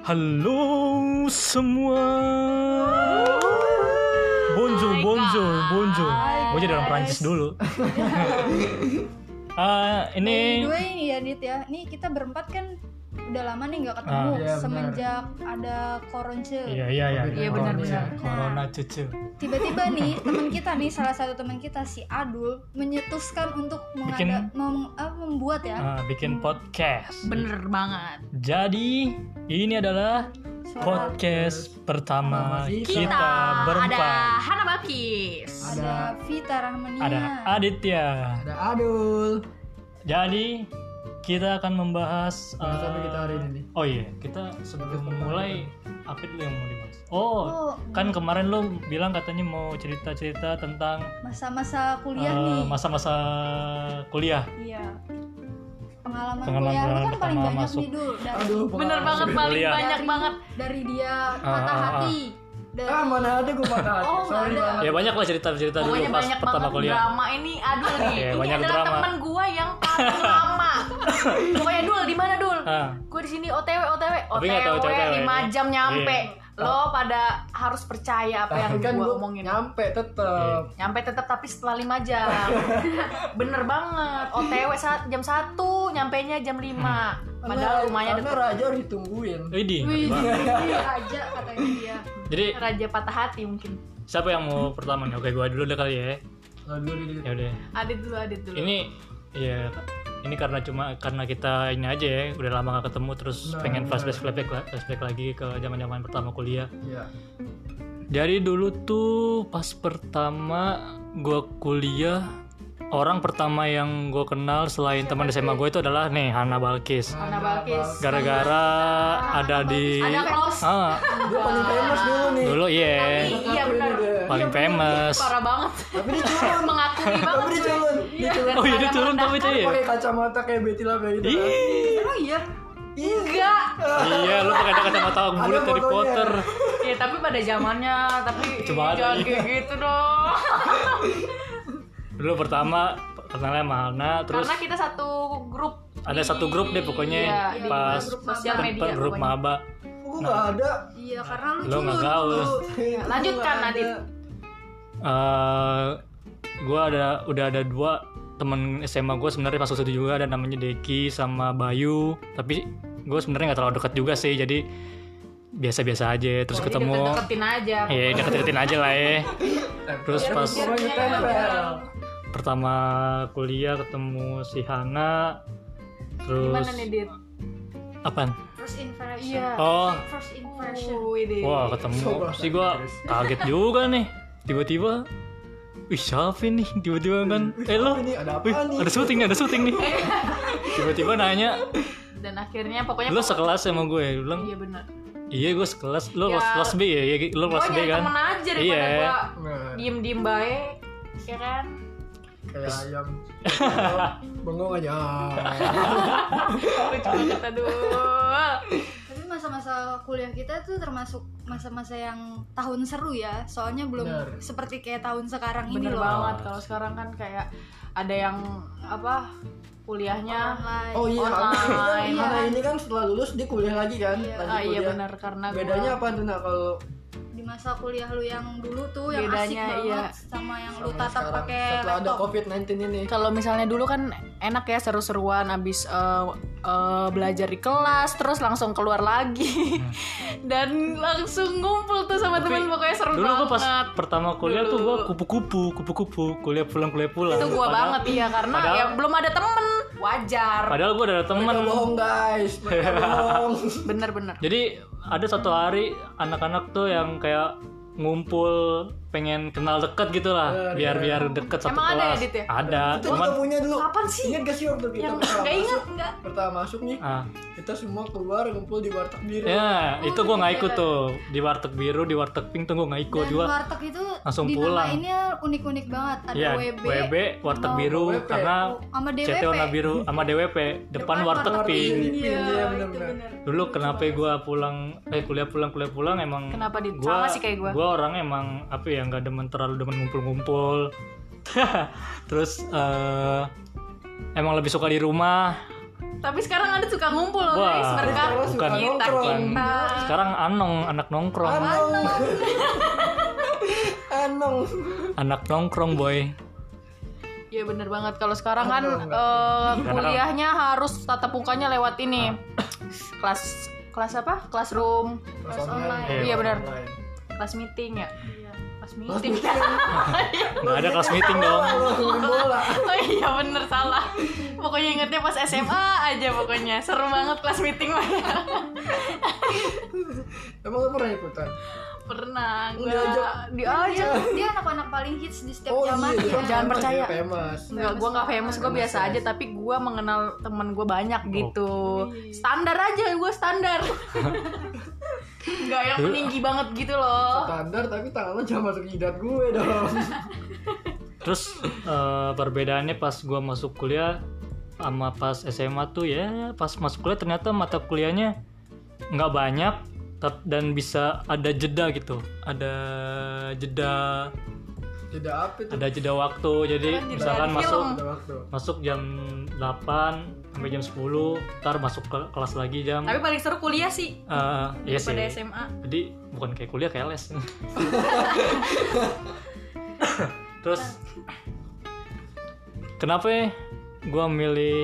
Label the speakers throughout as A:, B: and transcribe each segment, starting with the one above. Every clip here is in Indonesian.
A: Halo semua. Bonjour,
B: my
A: bonjour,
B: God.
A: bonjour. Gue jadi orang Prancis dulu. Eh, ini
C: By the way, nih ya Dit ya, nih kita berempat kan udah lama nih nggak ketemu
A: Ah,
C: Iya,
D: benar.
C: semenjak ada koronce.
A: Iya, iya, iya.
D: Iya,
A: Corona,
B: benar-benar.
A: Corona cucu.
C: Tiba-tiba nih teman kita nih salah satu teman kita si Adul menyetuskan untuk mengada,
A: Bikin-
C: mem- ah, membuat ya
A: Ah, bikin podcast.
B: Bener banget.
A: Jadi, ini adalah
C: suara
A: podcast pertama
D: Pertama
A: kita,
D: kita.
B: ada
A: berempat.
B: Hana Bakis.
C: ada Vita Rahmania.
A: Ada Aditya.
D: Ada Adul.
A: Jadi, kita akan membahas eh,
D: Bahas apa kita hari ini nih?
A: Oh iya, kita sebelum mulai apa dulu yang mau dibahas? Oh,
C: Oh,
A: kan kemarin lu bilang katanya mau cerita-cerita tentang
C: masa-masa kuliah
A: eh,
C: nih.
A: masa-masa kuliah.
C: Iya. Pengalaman,
A: Pengalaman-
C: kuliah lu kan
A: pengalaman
C: paling banyak
A: masuk.
C: nih Dul dari,
D: Aduh,
B: Bener banget paling
A: Lihat.
B: banyak banget.
C: dari dia
A: ah,
C: patah
A: ah.
C: hati. Dari,
D: Ah, mana ada gue patah hati.
C: Oh,
D: Sorry
C: nggak
D: banget.
C: ada.
A: Ya banyak lah cerita-cerita dulu
B: Pokoknya
A: pas
B: banyak
A: pertama
B: banget
A: kuliah.
B: drama ini Adul nih.
A: Iya,
B: ini
A: banyak
B: adalah
A: drama.
B: temen gua yang paling lama. Pokoknya Dul, di mana Dul?
A: Ah,
B: Gue di sini OTW OTW
A: Tapi nggak tahu
B: OTW
A: OTW.
B: 5 jam nyampe.
D: Iya.
B: Lo pada harus percaya apa yang
D: Tapi kan
B: gua
D: gue
B: omongin.
D: nyampe tetep.
B: Nyampe tetap tapi setelah 5 jam. Bener banget. OTW saat jam 1, nyampainya jam 5.
D: Hmm.
B: Padahal rumahnya
D: karena
B: deket.
D: raja harus ditungguin.
A: Widih, ngeri
C: Wih,
A: banget.
C: aja katanya dia.
A: Jadi
B: Raja patah hati mungkin.
A: siapa yang mau pertama nih? Oke, gua dulu deh kali ya.
D: Nah, dulu di
A: Ya udah.
B: Adit dulu, Adit dulu.
A: Ini ya ini karena cuma karena kita ini aja ya udah lama gak ketemu terus
D: Benar,
A: pengen
D: benar.
A: flashback flashback flashback lagi ke zaman-zaman pertama kuliah.
D: Iya.
A: Dari dulu tuh pas pertama gue kuliah orang pertama yang gue kenal selain teman SMA gue itu adalah nih Hana Balkis.
B: Hana Balkis.
A: Gara-gara ada di
B: Ada kaos.
A: ah,
D: Gue paling famous dulu nih.
A: dulu iya
B: Tapi- Iya, benar.
A: paling famous.
B: Parah banget.
D: Tapi dia culun.
B: Mengakui banget.
D: Tapi dia culun. Dia culun.
A: Oh iya dia turun tapi itu ya.
D: Pakai kacamata kayak Betty lah kayak gitu. kan.
B: Oh iya.
D: Iya.
B: Enggak.
A: Iya lu pakai ada kacamata bulat dari
D: fotonya.
A: Potter.
B: Ya tapi pada zamannya, tapi
A: Coba ada,
B: jangan
A: iya.
B: kayak gitu dong.
A: Dulu pertama kenalnya sama Hana terus
B: Karena kita satu grup.
A: ada satu grup deh pokoknya
B: Iya, di
A: pas
B: grup sosial
A: pen-
B: media
A: pen- grup
B: pokoknya.
A: maba
D: Gue gak ada.
C: Iya, karena lu
A: Lo nggak gaul.
D: Gua
B: lanjutkan,
D: nggak
B: Adit.
D: ada.
A: eh gue ada udah ada dua temen SMA gue sebenarnya masuk situ juga ada namanya Deki sama Bayu tapi gue sebenarnya nggak terlalu dekat juga sih jadi biasa-biasa aja
B: Oh,
A: terus ketemu
B: deketin aja.
A: ya deket-deketin aja lah ya terus
B: Iya,
D: Biar
A: pas
D: gua ngetempel.
A: pertama kuliah ketemu si Hana terus
B: Gimana nih, Dit?
A: apaan
C: first impression.
B: Iya.
A: oh
C: First impression.
B: Wuih, Dit.
A: wah ketemu
D: So bahasa
A: si gue
D: Inggris.
A: kaget juga nih tiba-tiba Wih, siapa nih? Tiba-tiba kan, eh lo,
D: Ini ada apa
A: Wih,
D: nih?
A: ada syuting nih, ada syuting nih. Tiba-tiba nanya,
B: Dan akhirnya pokoknya
A: lo sekelas sama gue. Dia bilang,
B: Iya benar.
A: iya gue sekelas. Lo
B: Ya.
A: kelas, kelas B ya? Iya, Lo
B: Gue
A: kelas B
B: nyari
A: kan?
B: temen aja daripada
A: Iya.
B: gua
D: Nah,
B: diem-diem baik. Ya kan?
D: kayak ayam bengong aja
B: Gue juga kata dul.
C: Tapi masa-masa kuliah kita tuh termasuk masa-masa yang tahun seru ya. Soalnya belum
D: Benar.
C: seperti kayak tahun sekarang ini
B: Bener
C: loh.
B: banget kalau sekarang kan kayak ada yang apa kuliahnya
C: Online.
D: oh iya
B: Online.
D: karena ini kan setelah lulus dia kuliah lagi kan
C: Iya.
D: Lanjut
B: ah, iya
D: kuliah.
B: benar karena gua-
D: bedanya apa tuh nak kalau
C: Di masa kuliah lu yang dulu tuh yang asik
B: Bedanya,
C: banget
B: iya.
C: sama yang lu
D: sama
C: tatap
D: sekarang,
C: pakai
D: setelah ada
C: laptop.
D: covid 19 ini
B: kalau misalnya dulu kan enak ya seru-seruan abis eh, eh, belajar di kelas terus langsung keluar lagi dan langsung ngumpul tuh sama
A: Hmm. Tapi
B: temen pokoknya seru
A: Dulu gue
B: banget
A: pas pertama kuliah tuh gue
B: Dulu.
A: kupu-kupu, kupu-kupu, kuliah pulang, kuliah pulang.
B: itu gua
A: Padahal-
B: banget iya karena
A: padahal-
B: ya belum ada temen wajar
A: Padahal gue ada teman.
D: Mereka bohong guys mereka bohong
B: bener-bener
A: Jadi ada satu hari anak-anak tuh yang kayak ngumpul pengen kenal deket gitu lah biar biar deket satu
B: Emang ada ya,
A: kelas
B: Dit, ya?
A: ada
D: itu
A: cuman
D: kita punya dulu
B: kapan sih
D: ingat gak sih waktu kita
B: yang
D: pertama
B: nggak inget
D: masuk
B: nggak
D: pertama masuk nih
A: ah,
D: kita semua keluar ngumpul di warteg biru
A: ya
B: Oh,
A: itu gue nggak ikut
B: iya.
A: tuh di warteg biru di warteg pink tuh gue nggak ikut
C: Dan
A: juga
C: warteg itu
A: langsung
C: di
A: pulang.
C: ini unik-unik banget. Ada
A: Iya,
C: WB,
A: WB, warteg biru
D: WP.
A: karena
C: sama DWP.
A: CT warna biru sama DWP depan warteg pink.
B: Iya,
D: Pink. Iya,
B: itu
D: bener-bener.
B: bener.
A: Dulu kenapa gue pulang eh kuliah pulang kuliah pulang emang
B: Kenapa, Dit?
A: gua-
B: Sama sih kayak gua.
A: Gua orang emang apa ya nggak demen terlalu demen ngumpul-ngumpul. Terus eh, emang lebih suka di rumah
B: Tapi sekarang ada suka ngumpul loh
A: Wah,
B: guys berkat
A: bukan,
B: kita kita.
D: bukan.
A: Sekarang Anong anak nongkrong,
D: Anong. Anong.
A: anak nongkrong boy.
B: Iya bener banget kalau sekarang kan
D: Aduh,
B: eh,
D: nggak.
A: Karena-
B: kuliahnya harus tatap mukanya lewat ini kelas kelas apa? Classroom,
C: Kelas online.
A: Iya,
B: Iya, benar. kelas meeting ya. Kelas meeting.
A: Nggak ada kelas meeting dong.
D: Ngomongin bola.
B: oh iya bener salah. Pokoknya ingetnya pas SMA aja pokoknya seru banget kelas meeting mah.
D: Emang lu pernah ikutan?
B: Pernah gue
D: Diajak.
B: diajak.
C: dia anak-anak paling hits di setiap
D: Oh
C: zaman
D: iya,
C: ya.
B: Jangan
D: Famous,
B: percaya.
D: dia Famous.
B: Enggak, gue gak famous, gue biasa aja Tapi gue mengenal temen gue banyak gitu Standar aja, gue standar Enggak yang peninggi banget gitu loh
D: Standar tapi tangan lu jangan masuk jidat gue dong.
A: Terus eh, perbedaannya pas gua masuk kuliah sama pas SMA tuh ya pas masuk kuliah ternyata mata kuliahnya nggak banyak tap- dan bisa ada jeda gitu ada jeda
D: Jeda apa itu?
A: ada jeda waktu jadi
B: Keren, jeda
A: misalkan
B: di
A: masuk
B: film.
D: Ada waktu.
A: masuk jam 8 sampai jam 10 ntar masuk ke kelas lagi jam
B: Tapi paling seru kuliah sih
A: eh, iya sih
B: Pada SMA
A: jadi bukan kayak kuliah kayak les terus kenapa ya gue milih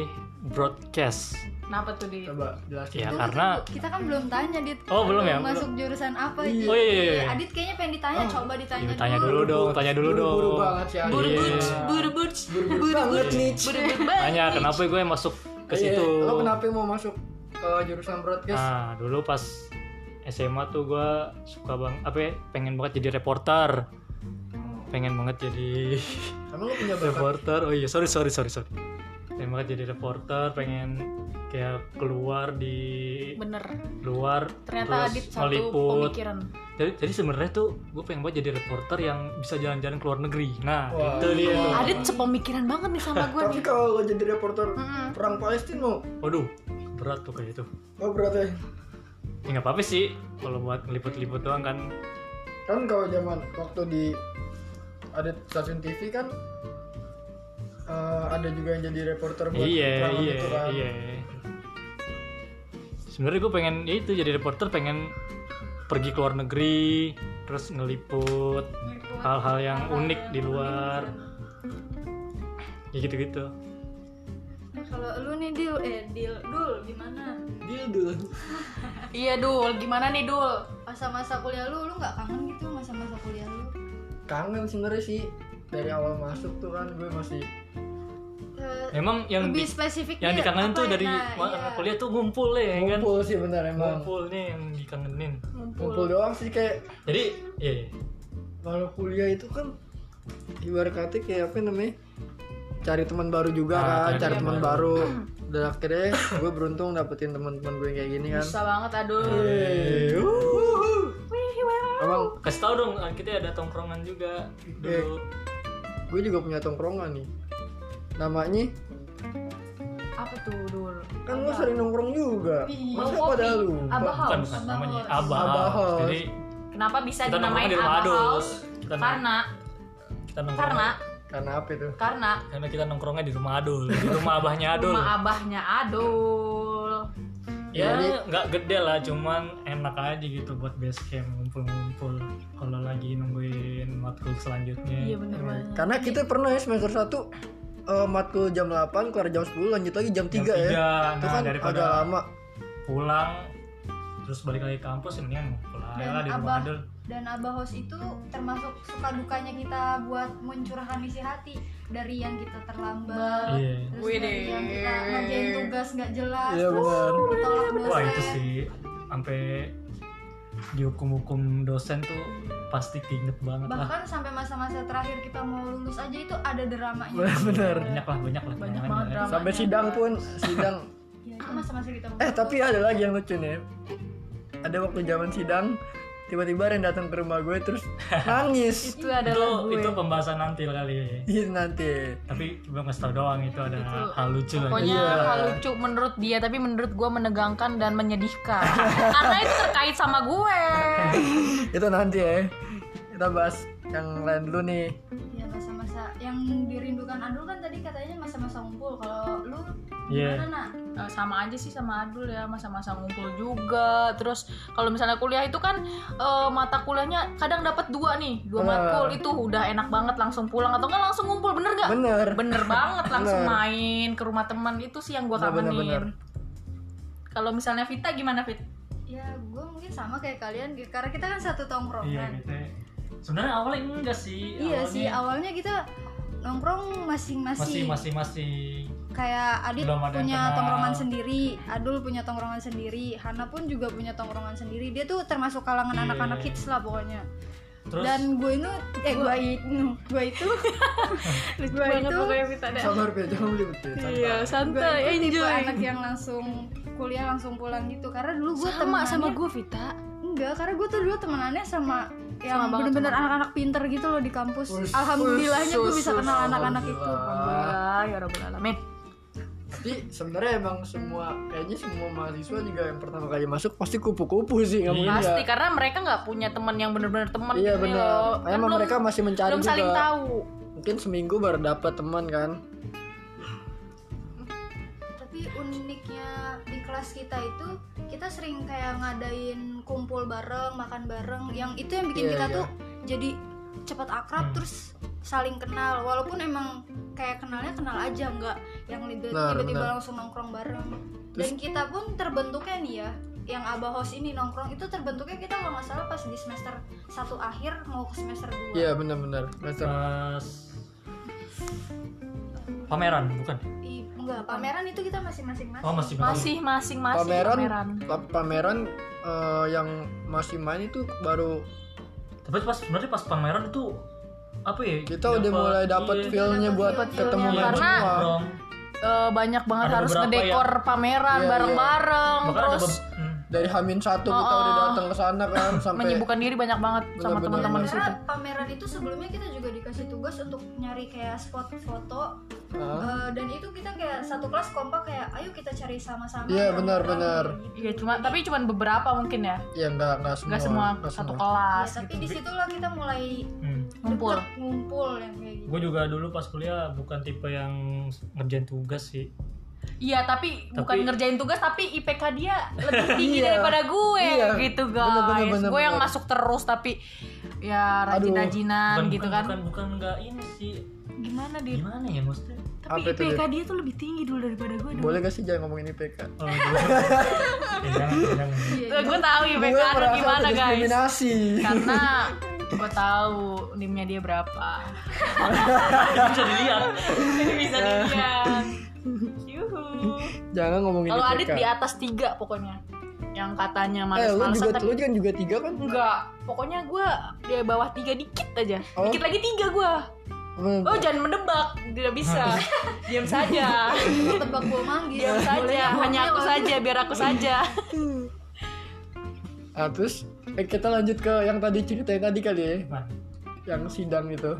A: broadcast
B: Kenapa tuh di
D: Coba jelasin.
A: ya
C: Itu
A: karena
C: kan kita kan belum tanya dit
A: Oh, belum ya?
C: masuk jurusan apa
D: Iya.
C: Dit?
A: Oh, iya, iya, iya.
C: Adit kayaknya pengen ditanya coba ditanya
A: Iya, tanya
C: dulu,
A: dulu dong tanya dulu dong
D: Buru-buru banget sih.
B: buru
A: Iya.
B: burj buru burj
D: Buru-buru
B: buru
D: banget,
B: burj
D: Nich.
B: buru burj
A: tanya kenapa gue masuk ke situ
D: Iya, Lo Iya, kenapa mau masuk ke jurusan broadcast?
A: nah dulu pas SMA tuh gue suka bang apa ya, pengen banget jadi reporter pengen banget jadi
D: Emang lu punya bakat?
A: reporter oh iya sorry sorry sorry sorry pengen banget jadi reporter pengen kayak keluar di
B: Bener
A: luar
B: Ternyata
A: terus
B: Adit satu
A: meliput
B: pemikiran
A: jadi, jadi sebenarnya tuh gue pengen banget jadi reporter yang bisa jalan-jalan ke luar negeri nah
D: Wah.
A: itu dia tuh
B: Adit sepemikiran banget nih sama gue
D: Tapi kalau lo jadi reporter perang Palestina mau
A: waduh berat tuh kayak itu
D: Oh berarti
A: ya nggak apa-apa sih kalau buat ngeliput-liput doang kan
D: kan kalau zaman waktu di ada stasiun TV kan eh, ada juga yang jadi reporter buat
A: iya
D: perangan
A: iya
D: itu kan.
A: iya sebenarnya gue pengen ya itu jadi reporter pengen pergi ke luar negeri terus ngeliput hal-hal yang unik di luar ya gitu-gitu
C: Nah, kalau lu nih deal eh deal dul gimana
D: Dildul.
B: Iya Dul, gimana nih Dul?
C: masa-masa kuliah lu lu nggak kangen gitu masa-masa kuliah lu
D: Kangen sebenarnya sih dari awal masuk tuh kan gue masih
C: Eh,
A: memang yang
C: lebih
A: di-
C: spesifik
A: yang
C: Dit,
A: dikangenin
C: apa
A: tuh
C: ya?
A: dari
C: Nah,
A: wah,
C: iya.
A: kuliah tuh ngumpul ya kan
D: ngumpul sih bener emang.
A: ngumpul nih yang dikangenin
D: Ngumpul doang sih kayak
A: jadi iya iya.
D: kalau kuliah itu kan ibarat kata kayak apa namanya cari teman baru juga
A: Ah,
D: kan
A: cari
D: cari
A: teman
D: teman baru dan akhirnya gue beruntung dapetin teman-teman gue kayak gini kan
B: Bisa banget ah, Adul
D: Eh, wuhu. Emang
A: kasih tau dong ah, kita ada tongkrongan juga dulu
D: gue juga punya tongkrongan nih namanya
B: Apa tuh Dul?
D: kan lo sering nongkrong juga
C: Iya.
D: masa
B: Kopi.
D: pada lu
B: Abah
A: bukan
B: House
A: bukan namanya
C: Abah
A: abah
D: Abah
A: House.
D: House.
A: jadi
B: Kenapa bisa
A: kita nongkrong
B: dinamain
A: di rumah
B: Abah
A: adus
B: House?
A: kita nong-
B: Karena
A: kita nongkrong
B: Karena
D: karena apa itu
B: Karena
A: karena kita nongkrongnya di rumah adul di rumah abahnya adul
B: rumah abahnya Adul
A: ya
D: Jadi-
A: nggak gede lah cuman enak aja gitu buat base camp ngumpul-ngumpul kalau lagi nungguin matkul selanjutnya
B: Iya bener banget
D: karena kita pernah ya semester 1 matkul jam 8 keluar jam 10 lanjut lagi jam 3
A: Jam
D: ya
A: tiga.
D: itu
A: nah
D: kan
A: daripada
D: agak lama
A: pulang terus balik lagi ke kampus ya mendingan pulang
C: Dan
A: lah di rumah
C: abah-
A: adul
C: dan abah host itu termasuk suka dukanya kita buat mencurahkan isi hati dari yang kita terlambat
A: Iya.
C: terus
B: Wih
C: dari
B: deh.
C: yang kita ngerjain tugas nggak jelas
D: Iya,
C: terus
D: benar.
C: ditolak dosen
A: Wah itu sih sampai dihukum-hukum dosen tuh pasti keinget banget lah.
C: bahkan sampai masa-masa terakhir kita mau lulus aja itu ada dramanya
D: bener
A: Banyak lah, banyak lah.
B: Banyak
A: kenangan
B: banget
A: ya.
B: drama.
D: sampai sidang pun sidang
C: ya, itu masa-masa kita mau
D: eh
C: lulus.
D: tapi ada lagi yang lucu nih ada waktu zaman sidang tiba-tiba ada yang datang ke rumah gue terus nangis
B: Itu
A: Itu
B: adalah gue
A: itu pembahasan nanti lah kali. ya.
D: Ih, nanti
A: Tapi cuma ngasih tau doang itu ada
B: Itu.
A: hal lucu lah.
B: Pokoknya
A: Iya.
B: hal lucu menurut dia Tapi menurut gue menegangkan dan menyedihkan Karena itu terkait sama gue
D: itu nanti ya kita bahas yang lain dulu nih
C: ya masa-masa yang dirindukan Adul kan tadi katanya masa-masa ngumpul kalau lu
A: Iya.
C: gimana nak
B: eh, sama aja sih sama Adul ya masa-masa ngumpul juga terus kalau misalnya kuliah itu kan eh, mata kuliahnya kadang dapat dua nih dua
D: Bener.
B: matkul itu udah enak banget langsung pulang atau enggak langsung ngumpul bener nggak
D: bener
B: bener banget langsung
D: Bener.
B: main ke rumah teman itu sih yang gue
D: Bener, bener, bener.
B: kangenin kalau misalnya Vita gimana Fit?
C: ya gue mungkin sama kayak kalian gitu karena kita kan satu
A: Iya
C: tongkrongan
A: gitu. ya. Sebenarnya awalnya enggak sih.
C: iya
A: awalnya
C: sih awalnya kita nongkrong
A: masih
C: masing-masing
A: masih masih
C: kayak Adit
A: Belum ada yang
C: punya
A: kenal.
C: tongkrongan sendiri, Adul punya tongkrongan sendiri, Hana pun juga punya tongkrongan sendiri. Dia tuh termasuk kalangan
A: Iya.
C: anak-anak hits lah pokoknya.
A: terus
C: Dan gue itu eh gue itu gue itu
B: Lucu
C: Gua
B: banget
C: itu-
B: pokoknya Vita deh.
D: sabar Pia, jangan melibutin
B: Iya
C: gue
B: santai
C: itu tipe
B: enjoy.
C: anak yang langsung kuliah langsung pulang gitu. Karena dulu gue
B: sama ya. sama
C: temenannya-
B: gue Vita.
C: enggak karena gue tuh dulu temenannya sama yang
B: banget
C: bener-bener
B: temen.
C: anak-anak pinter gitu loh di kampus.
D: Us,
C: Alhamdulillahnya gue
B: us,
C: bisa
B: us,
C: kenal anak-anak itu.
D: Alhamdulillah.
B: ya rabbal alamin.
D: tapi sebenarnya emang semua kayaknya semua mahasiswa juga yang pertama kali masuk pasti kupu-kupu sih nggak
A: Iya.
D: mungkin
B: Pasti
D: nggak-
B: karena mereka nggak punya teman yang bener-bener teman
D: iya
B: gitu
D: benar
B: loh. Kan
D: emang
B: belum-
D: mereka masih mencari
B: belum saling
D: juga.
B: tahu.
D: mungkin seminggu baru dapat teman kan
C: Tapi uniknya di kelas kita itu kita sering kayak ngadain kumpul bareng, makan bareng. Yang itu yang bikin
D: Iya,
C: kita
D: iya.
C: tuh jadi cepat akrab
A: Hmm.
C: terus saling kenal. Walaupun emang kayak kenalnya kenal aja nggak yang tiba-
D: Benar,
C: tiba-tiba
D: benar.
C: langsung nongkrong bareng. Dan
D: Terus-
C: kita pun terbentuknya nih ya yang Abah Host ini nongkrong itu terbentuknya kita kalau nggak salah pas di semester satu akhir mau ke semester 2
D: iya benar-benar Benar.
A: pas pameran bukan?
C: enggak pameran itu kita masih masing-masing
A: Oh masih
B: Masih masing-masing
D: pameran pa- pameran eh, yang masih main itu baru
A: Tapi pas sebenarnya pas pameran itu apa ya?
D: kita udah
A: dapet-
D: mulai dapat
A: iya,
D: feelnya
C: Dapet
D: buat
C: feel-nya.
D: ketemu
A: iya,
D: main
B: Karena-
D: semua
A: nongkrong.
B: Eh, banyak banget
A: Ada
B: harus
A: beberapa
B: ngedekor pameran
D: Iya, iya.
B: bareng-bareng
A: Bahkan ada
B: terus
A: be- hmm.
D: dari Hamin satu kita
B: Oh,
D: udah
B: oh.
D: datang ke sana kan sampai iya.
B: menyibukkan diri banyak banget sama
D: Bener-bener.
B: teman-teman
D: Karena-
B: situ.
C: Karena pameran itu sebelumnya kita juga dikasih tugas untuk nyari kayak spot foto
D: Ah,
C: eh, dan itu kita kayak satu kelas kompak kayak ayo kita cari sama-sama.
D: Iya,
C: bareng-bareng,
D: benar, benar.
C: gitu.
B: Iya cuma tapi cuma beberapa mungkin ya.
D: ya nggak nggak semua
B: Nggak semua
D: nggak
B: satu
D: semua.
C: Ya,
B: kelas
C: tapi
B: gitu.
C: di situlah kita mulai
A: Hmm.
B: Ngumpul.
C: deket, ngumpul yang kayak gitu.
A: Gue juga dulu pas kuliah bukan tipe yang ngerjain tugas sih.
B: Iya tapi,
A: Tapi-
B: bukan ngerjain tugas tapi IPK dia lebih tinggi
D: Iya.
B: daripada gue
D: Iya.
B: gitu guys.
D: Bener, bener, bener,
B: gue yang
D: bener.
B: masuk terus tapi ya
D: Aduh,
B: rajin-rajinan
A: Bukan,
B: gitu
A: bukan,
B: kan.
A: bukan bukan nggak ini sih.
B: Gimana dia?
A: Gimana ya maksudnya?
B: Tapi
D: Apa itu,
B: IPK
D: Dit?
B: dia tuh lebih tinggi dulu daripada gue. dong.
D: boleh gak sih jangan ngomongin IPK
A: Oh, jangan, jangan, jangan.
C: Iya,
B: Tuh, Eh, gue tahu
D: Gue
B: IPK Adul
D: merasa
B: kan gimana guys. Kan?
D: diskriminasi
B: Karena gue tahu nimnya dia berapa.
A: Bisa dilihat.
B: Ini bisa dilihat. Yuhu.
D: jangan ngomongin
B: Kalau
D: IPK
B: Adit di atas tiga pokoknya. Yang katanya
D: eh lu juga
B: males-malesan tapi
D: lu kan juga tiga kan
B: Enggak, pokoknya gue di bawah tiga dikit aja.
D: Oh.
B: Dikit lagi tiga gue.
D: Hmm.
B: Oh jangan mendebak, tidak bisa. Diam saja,
C: Tebak gua manggis.
B: diam Iya, saja. Hanya aku saja, biar aku saja.
D: Nah, terus eh, kita lanjut ke yang tadi ceritain tadi kali ya,
A: Gimana?
D: yang sidang itu.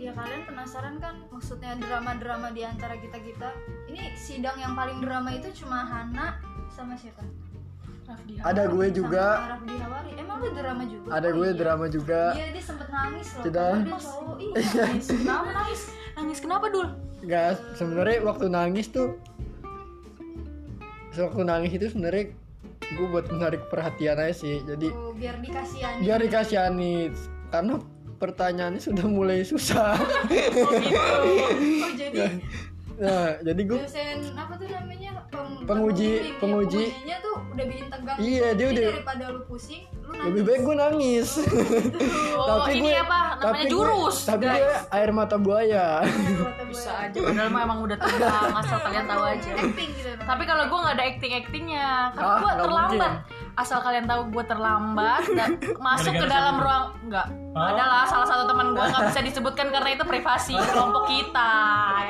C: Ya kalian penasaran kan maksudnya drama-drama di antara kita-kita. Ini sidang yang paling drama itu cuma Hana sama siapa? Rafdi Hawari.
D: Ada gue
C: Sama
D: juga.
C: Rafdi Hawari. Emang lu drama juga?
D: Ada
C: Oh
D: gue
C: iya.
D: drama juga,
C: Iya dia sempet nangis loh.
D: Tidak.
C: Padahal Dia cowok. Iya.
B: Kenapa nangis? Nangis kenapa dul?
D: guys. Sebenarnya waktu nangis tuh, waktu nangis itu sebenarnya gue buat menarik perhatian aja sih. Jadi
C: Tuh, Oh, biar ya. dikasihani.
D: biar dikasihani karena pertanyaannya sudah mulai susah.
B: gitu.
C: Oh jadi
D: nah, jadi gue
C: dosen apa tuh namanya Peng-
D: Penguji,
C: Iya,
D: penguji.
C: pengujinya tuh udah bikin tegang.
D: Iya, dia
C: Jadi
D: udah-
C: daripada lu pusing, lu nangis.
D: lebih baik gue nangis.
B: Oh, ini apa? Namanya
D: gue-
B: jurus.
D: tapi
B: guys.
D: gue air mata buaya.
C: Iya, Kata gue.
B: Bisa aja. Padahal mah emang udah tegang, asal kalian tahu aja.
C: Acting gitu.
B: Tapi kalau gue nggak ada acting actingnya, karena
D: Ah,
B: gue
D: nggak
B: terlambat. Asal kalian tahu gue terlambat, nggak- masuk ke
A: Gara-gara
B: dalam
A: sama.
B: ruang nggak.
A: Ah.
B: Adalah salah satu teman gue nggak bisa disebutkan karena itu privasi
A: Oh.
B: kelompok kita,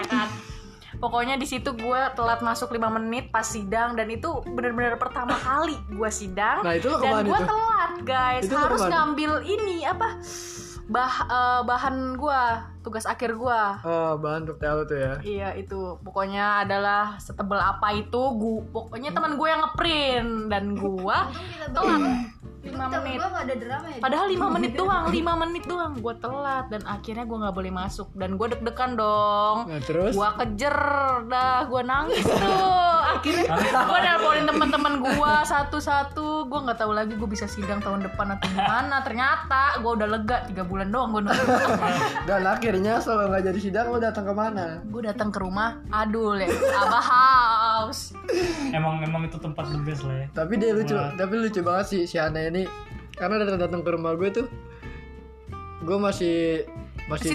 B: ya kan. Pokoknya di situ gue telat masuk 5 menit pas sidang dan itu bener-bener pertama kali gue sidang
D: Nah, itu lo
B: dan
D: kemana
B: gue
D: itu?
B: telat guys
D: Itu lo
B: harus
D: kemana?
B: ngambil ini apa bah eh, bahan gue tugas akhir gue
D: Oh, bahan untuk telo tuh ya.
B: Iya itu pokoknya adalah setebel apa itu gu pokoknya teman gue yang ngeprint dan gue
C: Untung kita
B: telat lima
C: Tapi
B: menit
C: gua nggak ada drama ya
B: Padahal 5 menit doang, 5 menit doang gue telat dan akhirnya gue nggak boleh masuk dan gue deg-degan dong.
D: Nah, terus
B: Gue kejer dah, gue nangis tuh. Akhirnya gue nelponin teman-teman gue satu-satu. Gue nggak tahu lagi gue bisa sidang tahun depan atau gimana. Ternyata gue udah lega tiga bulan doang gue nunggu.
D: dan akhirnya selama nggak jadi sidang lo datang kemana?
B: Gue datang ke rumah Adul ya, Abah House.
A: emang emang itu tempat the best lah ya
D: Tapi dia lucu,
A: Wah.
D: tapi lucu banget sih si Ana ini karena datang datang ke rumah gue tuh gue masih masih,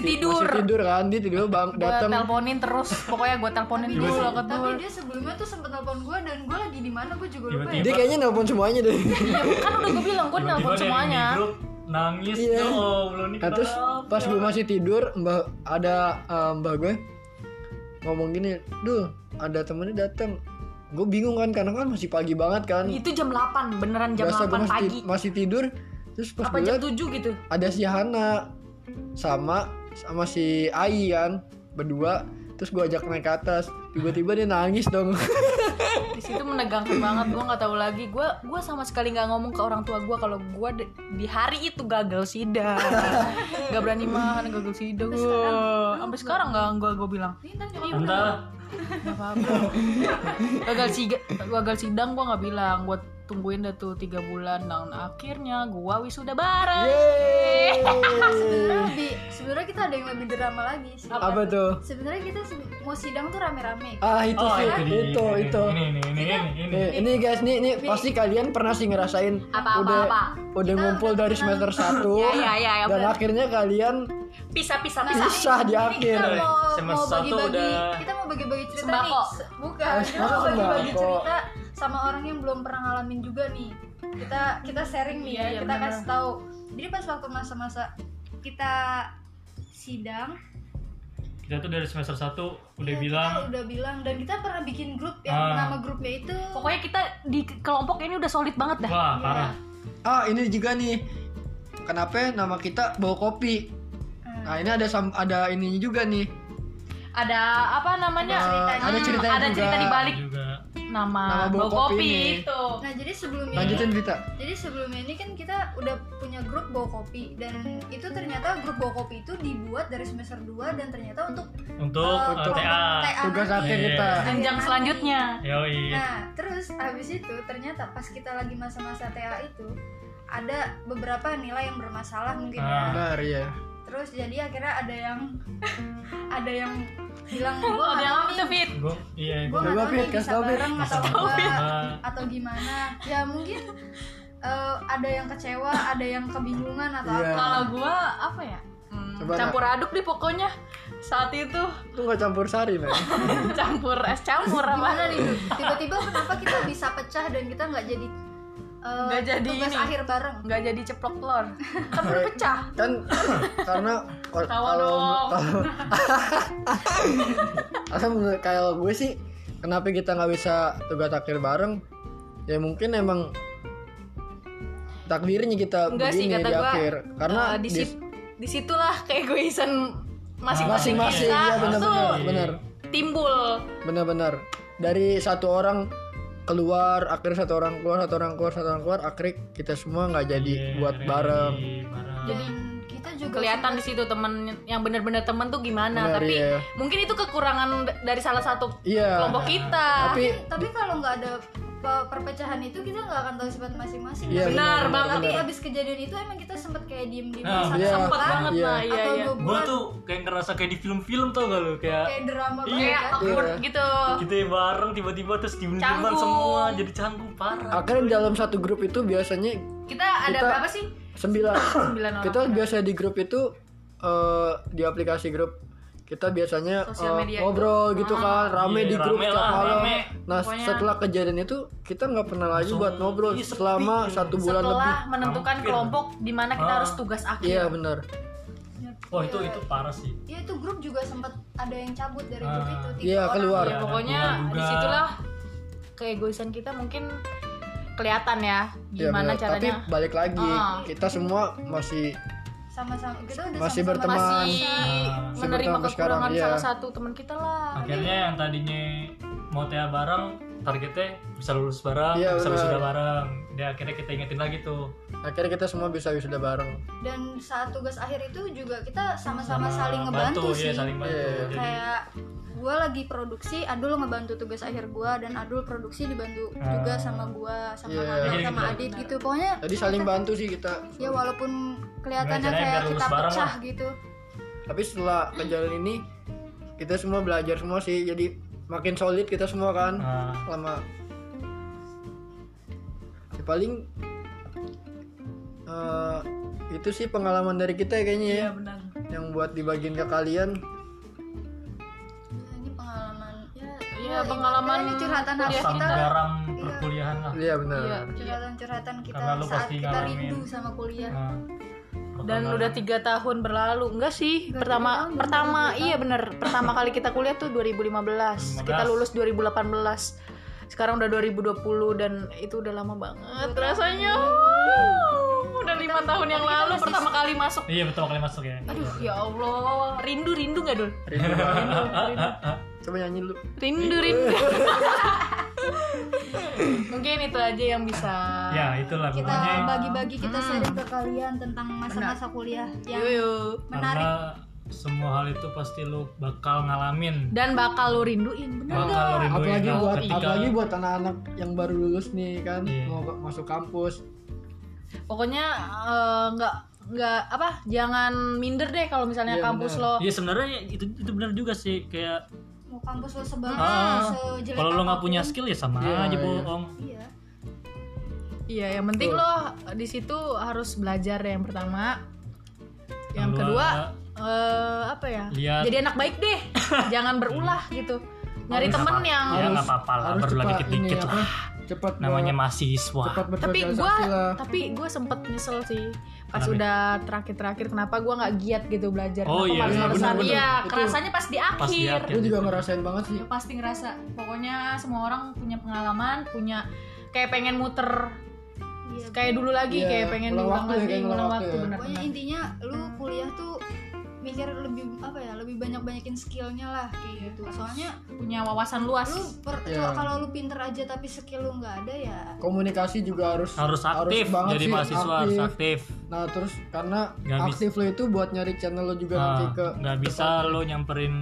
B: Masih
D: ti-
B: tidur.
D: masih tidur kan dia tidur bang
B: Gue
D: datang
B: telponin terus, pokoknya gue telponin
A: Iya,
C: Tapi
B: dulu
C: dia,
B: loh ke
C: tapi
B: Dul.
C: dia sebelumnya tuh sempet nelpon gue dan gue lagi di mana gue juga lupa
A: Tiba-tiba.
C: ya.
D: dia kayaknya nelpon semuanya deh
B: Ya kan udah gue bilang
A: Tiba-tiba
B: gue nelpon
A: ada yang
B: semuanya.
A: di grup nangis
D: Iya.
A: ya Allah ini
D: nah, terus
A: kenapa?
D: pas gue masih tidur mbak ada eh, mbak gue ngomong gini duh ada temennya datang gue bingung kan karena kan masih pagi banget kan
B: Itu jam 8, beneran Iya, jam
D: Berasa gua
B: 8
D: masih,
B: pagi.
D: ti- masih tidur terus pas
B: Apa
D: gue
B: jam
D: liat
B: 7 gitu?
D: ada si Hana sama sama si Ai kan berdua terus gue ajak naik ke atas tiba-tiba dia nangis dong
B: Di situ menegangkan banget. Gua nggak tahu lagi. Gua gua sama sekali nggak ngomong ke orang tua gua kalau gua di, di hari itu gagal sidang. Gak berani makan gagal sidang. Wah, Sampai sekarang nggak nggak gua bilang.
C: Ini ntar nyokap gue
A: entah
B: Iya. Nggak apa-apa. Gagal sidang, gagal sidang gua nggak bilang. Gua tungguin dah tuh 3 bulan dan akhirnya gua wisuda
D: Iya.
B: bareng.
D: Yeay.
C: sebenarnya lebih sebenarnya kita ada yang lebih drama lagi sih.
D: apa tuh
C: Sebenarnya kita se- mau sidang tuh rame-rame.
D: ah itu
A: oh
D: sih
A: itu
D: itu itu,
A: dia.
D: Iya.
A: ini ini ini
B: Iya.
A: ini, ini.
D: Nih, ini guys nih nih pasti kalian pernah sih ngerasain
B: Apa, apa,
D: udah
B: apa?
D: udah ngumpul dari semester
B: Ya,
D: 1
B: ya, ya, ya,
D: dan
B: bener.
D: akhirnya kalian
B: Pisah-pisah pisah.
D: pisah di akhir
C: Kita mau mau
A: Semester satu
C: bagi-bagi
A: udah-
C: kita mau bagi-bagi cerita
B: Sembako.
C: nih. Se- Bukan.
D: Eh,
C: Kita mau
D: masa
C: bagi-bagi
D: sembako?
C: cerita sama orang yang belum pernah ngalamin juga nih. Kita kita sharing nih
B: Iya,
C: ya,
B: iya,
C: kita
B: benar-benar.
C: kasih tahu. Jadi pas waktu masa-masa kita sidang
A: kita tuh dari semester 1 udah
C: ya,
B: Iya.
A: bilang
C: kita udah bilang dan kita pernah bikin grup yang
A: Ah.
C: nama grupnya itu
B: Pokoknya kita di kelompok ini udah solid banget dah.
A: wah
C: Iya.
A: parah
D: ah ini juga nih kenapa nama kita bawa kopi
C: Hmm.
D: nah ini ada sam- ada ininya juga nih
B: Ada apa namanya? Hmm,
D: Ada ceritanya. Ada ceritanya
B: ada
D: juga.
B: cerita di balik
A: juga
B: nama,
D: Nama bau
B: bau
D: kopi
B: kopi
D: ini.
B: itu.
C: Nah jadi
B: Iya.
C: sebelumnya
D: lanjutin Vita
C: jadi sebelumnya ini kan kita udah punya grup bawa kopi dan itu ternyata grup bawa kopi itu dibuat dari semester 2 dan ternyata untuk
A: untuk
B: Oh,
C: eh,
A: eh,
C: program
A: TA
D: tugas
C: nanti.
D: akhir
A: Iya.
D: kita
B: Jenjang
C: Iya.
B: selanjutnya.
A: yoi
B: Iya.
C: Nah terus habis itu ternyata pas kita lagi masa-masa TA itu ada beberapa nilai yang bermasalah mungkin
A: Ah.
C: ya.
D: benar ya
C: Terus jadi akhirnya ada yang ada yang bilang gue
B: Kalau bilang Oh, apa tuh Fit?
A: gue iya
C: gue
A: gue
D: Coba,
C: nggak tahu nih
D: Fit, kasih
C: bisa
D: tau, Fit.
C: bareng atau
A: Kasih
B: tau,
C: enggak
A: Fit.
C: atau gimana ya mungkin eh, ada yang kecewa ada yang kebingungan atau
D: Iya.
C: apa
B: Kalau gua apa ya? Hmm,
D: Coba,
B: campur aduk deh pokoknya saat itu
D: itu nggak campur sari men
B: campur es campur
C: gimana
B: apa
C: nih Du? tiba-tiba kenapa kita bisa pecah dan kita nggak jadi eh,
B: Nggak jadi
C: tugas
B: ini.
C: akhir bareng
B: nggak jadi ceplok telur kan udah pecah
D: kan karena kal-
B: Tawa
D: kalau
B: dong.
D: kalau Karena menurut kalau gue sih kenapa kita nggak bisa tugas akhir bareng ya mungkin emang takdirnya kita
B: Enggak sih,
D: begini
B: kata
D: di
B: gua,
D: akhir karena
B: Eh, di,
D: di-
B: sit- disitulah keegoisan masing-masing
D: masing-masing
B: kita
D: ya
B: tuh
D: benar-benar benar
B: timbul
D: benar-benar dari satu orang keluar akhir satu orang keluar satu orang keluar satu orang keluar akhir kita semua nggak jadi
A: Iya,
D: buat bareng
B: Jadi,
C: Dan kita juga
B: kelihatan di situ temen yang benar-benar temen tuh gimana
D: Benar,
B: tapi
D: iya.
B: mungkin itu kekurangan d- dari salah satu
D: iya
B: kelompok kita
D: tapi
C: tapi kalau nggak ada pe- perpecahan itu kita nggak akan tahu sifat masing-masing
D: Iya,
C: Tapi
B: benar, banget
C: tapi
B: nih
C: habis kejadian itu emang kita sempet kayak diem di
A: Nah,
C: satu
D: iya.
B: sempat
C: tempat
B: banget
D: Iya.
B: nah iya
C: atau
B: iya
C: dua
A: gue
C: bulan
A: tuh kayak ngerasa kayak di film-film tau gak lu kayak
C: kayak drama
B: kayak
C: banget kan?
B: awkward
D: Iya.
B: gitu
A: kita bareng tiba-tiba terus timbun-timbun
B: Canggung.
A: semua jadi canggung parah
D: akhirnya dalam satu grup itu biasanya
B: kita ada
D: Kita-
B: berapa sih
D: sembilan
B: sembilan orang
D: kita biasa di grup itu eh, di aplikasi grup kita biasanya
B: Sosial
D: eh,
B: media Ah.
D: ngobrol gitu kan
A: Iya,
D: rame di grup
A: rame
D: setiap
A: lah,
D: malam.
A: rame.
D: nah
B: Pokoknya-
D: setelah kejadian itu kita nggak pernah lagi
A: Langsung-
D: buat ngobrol
A: iya, sepi.
D: selama satu bulan
B: setelah
D: lebih
B: menentukan
A: Hampir.
B: kelompok di mana kita
A: Ah.
B: harus tugas akhir
D: iya benar
A: wah Oh, itu itu parah sih
C: Iya itu grup juga sempat ada yang cabut dari
A: Ah.
C: grup itu. tiga
D: Iya,
C: orang.
D: keluar.
B: Ya,
A: Iya,
B: pokoknya
A: keluar juga.
B: disitulah keegoisan kita mungkin kelihatan ya
D: Iya,
B: gimana
D: benar. tapi
B: caranya
D: balik lagi
B: Ah.
D: kita semua masih
C: Sama-sama kita udah
D: Masih
C: sama-sama
D: berteman.
C: rasa.
B: masih
A: Nah,
B: menerima
D: sampai sekarang,
B: kekurangan
D: iya.
B: salah satu teman kita lah
A: akhirnya yang tadinya mau TA bareng targetnya bisa lulus bareng
D: Iya,
A: bisa
D: benar.
A: wisuda bareng dia akhirnya kita ingetin lagi tuh
D: akhirnya kita semua bisa wisuda bareng
C: dan saat tugas akhir itu juga kita
A: Sama
C: sama-sama saling ngebantu
A: bantu,
C: sih
A: iya, saling bantu
D: Iya.
A: jadi
C: kayak gue lagi produksi Adul ngebantu tugas akhir gue dan Adul produksi dibantu
A: Ah.
C: juga sama gue sama
D: Iya.
C: Hana,
A: Jadi
C: sama
A: kita-
C: Adit gitu pokoknya
D: jadi saling bantu sih kita
C: ya walaupun kelihatannya
A: Gimana caranya
C: kayak
A: biar lulus
C: kita
A: bareng
C: pecah
A: lah.
C: gitu
D: tapi setelah kejadian ini kita semua belajar semua sih jadi makin solid kita semua kan
A: nah,
D: lama Ya, paling eh, itu sih pengalaman dari kita ya kayaknya ya
B: Iya benar.
D: yang buat dibagiin ke kalian
C: Ya, ini pengalaman ya,
B: Iya,
C: ini-
B: pengalaman
C: ini curhatan
B: kuliah
C: harus
A: asam
C: ya, kita
A: garam perkuliahan lah
D: iya benar
B: Iya. iya.
C: curhatan-curhatan kita
A: Karena lu
C: saat
A: pasti
C: kita
A: ngalamin.
C: rindu sama kuliah
A: Nah,
B: Dan
A: pertama-
B: udah tiga tahun berlalu, enggak sih?
C: Enggak,
B: pertama,
C: tiga tahun,
B: pertama,
C: baru dua
B: iya bener. Pertama kali kita kuliah tuh 2015. Kita
A: 2015.
B: lulus 2018. Sekarang udah 2020 dan itu udah lama banget
C: Dua
B: rasanya. Udah lima tahun yang
C: tapi kita
B: lalu
C: masih-
B: pertama kali masuk.
A: iya betul kalian masuk ya
B: Aduh, ya Allah, rindu rindu nggak dul?
D: Rindu banget. coba nyanyi lu
B: Rindu rindu. Mungkin itu aja yang bisa.
A: ya itulah
C: kita
A: pokoknya
C: bagi-bagi kita
B: Hmm. Iya,
C: sharing ke kalian tentang masa-masa kuliah yang
B: Yuyu.
C: menarik
A: karena semua hal itu pasti lu bakal ngalamin
B: Dan bakal lu rinduin, bener
A: bakal
B: nggak?
A: lu rinduin
D: apalagi
A: Nah,
D: buat
A: ketika
D: apalagi buat anak-anak yang baru lulus nih kan
A: Iya.
D: mau masuk kampus
B: pokoknya eh, nggak nggak apa jangan minder deh kalau misalnya
D: Iya,
B: kampus
D: benar.
C: Oh.
B: lo
A: Iya sebenarnya itu itu benar juga sih kayak
C: mau kampus lo sebagus
A: Ah,
C: sejelek
A: kalau lo nggak
C: apapun.
A: punya skill ya sama
D: Iya,
A: aja
D: iya.
A: bohong.
C: iya
B: iya yang penting
D: Betul.
B: lo di situ harus belajar yang pertama yang
A: Yang kedua,
B: kedua eh, apa ya
A: lihat.
B: jadi anak baik deh jangan berulah gitu nyari
A: Nggak
B: temen
A: apa-
B: yang
A: ya nggak apa-apa lah
D: harus
A: baru lagi
D: cepat ini ya. Iya.
A: dikit-dikit
D: apa,
A: lah
D: cepat
A: namanya
D: buat-
A: mahasiswa.
D: cepat
B: tapi gue
D: bersosialisasi lah
B: tapi gue sempet nyesel sih pas
A: Kenapa?
B: udah terakhir-terakhir kenapa gue nggak giat gitu belajar
A: Oh, iya,
B: kenapa males-malesan
D: bener-bener.
B: iya
D: Itu-
B: kerasanya pas di akhir,
A: Pas di akhir.
D: gue juga ngerasain banget sih
B: Ya, pasti ngerasa pokoknya semua orang punya pengalaman punya kayak pengen muter
C: iya
B: kayak dulu lagi
D: Iya,
B: kayak pengen
D: ulang
B: diulang
D: waktu ya,
B: lagi
D: kayak ulang
B: ulang
D: waktu
B: waktu
D: ya.
B: benar
C: pokoknya intinya lu kuliah tuh mikir lebih apa ya lebih banyak banyakin skillnya lah kayak gitu soalnya
B: punya wawasan luas
C: lu per-
D: Iya.
C: kalau- kalau lu pinter aja tapi skill lu nggak ada ya
D: komunikasi juga harus
A: harus aktif
D: banget
A: jadi
D: sih,
A: mahasiswa harus aktif.
D: nah terus karena
A: Nggak bisa.
D: aktif lo itu buat nyari channel lo juga
A: Nah,
D: nanti ke
A: nggak bisa lo nyamperin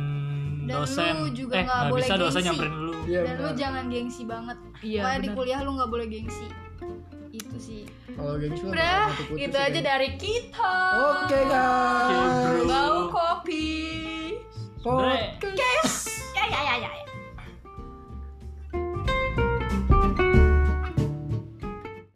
C: Dan
A: dosen.
C: lu juga
A: eh
C: nggak
A: nggak
C: boleh
A: bisa dosen
C: gengsi.
A: nyamperin lu.
D: Iya,
C: dan lu
D: benar.
C: jangan gengsi banget
B: iya
C: Pokoknya di
B: benar.
C: kuliah lu nggak boleh gengsi itu sih
D: kalau kayak gitu lah,
B: udah
D: bakal putus-putus
B: gitu
D: sih
B: aja
D: kayaknya.
B: dari kita
D: oke guys
A: Oke, bro.
B: bau kopi
A: Sebenarnya-
D: Podcast.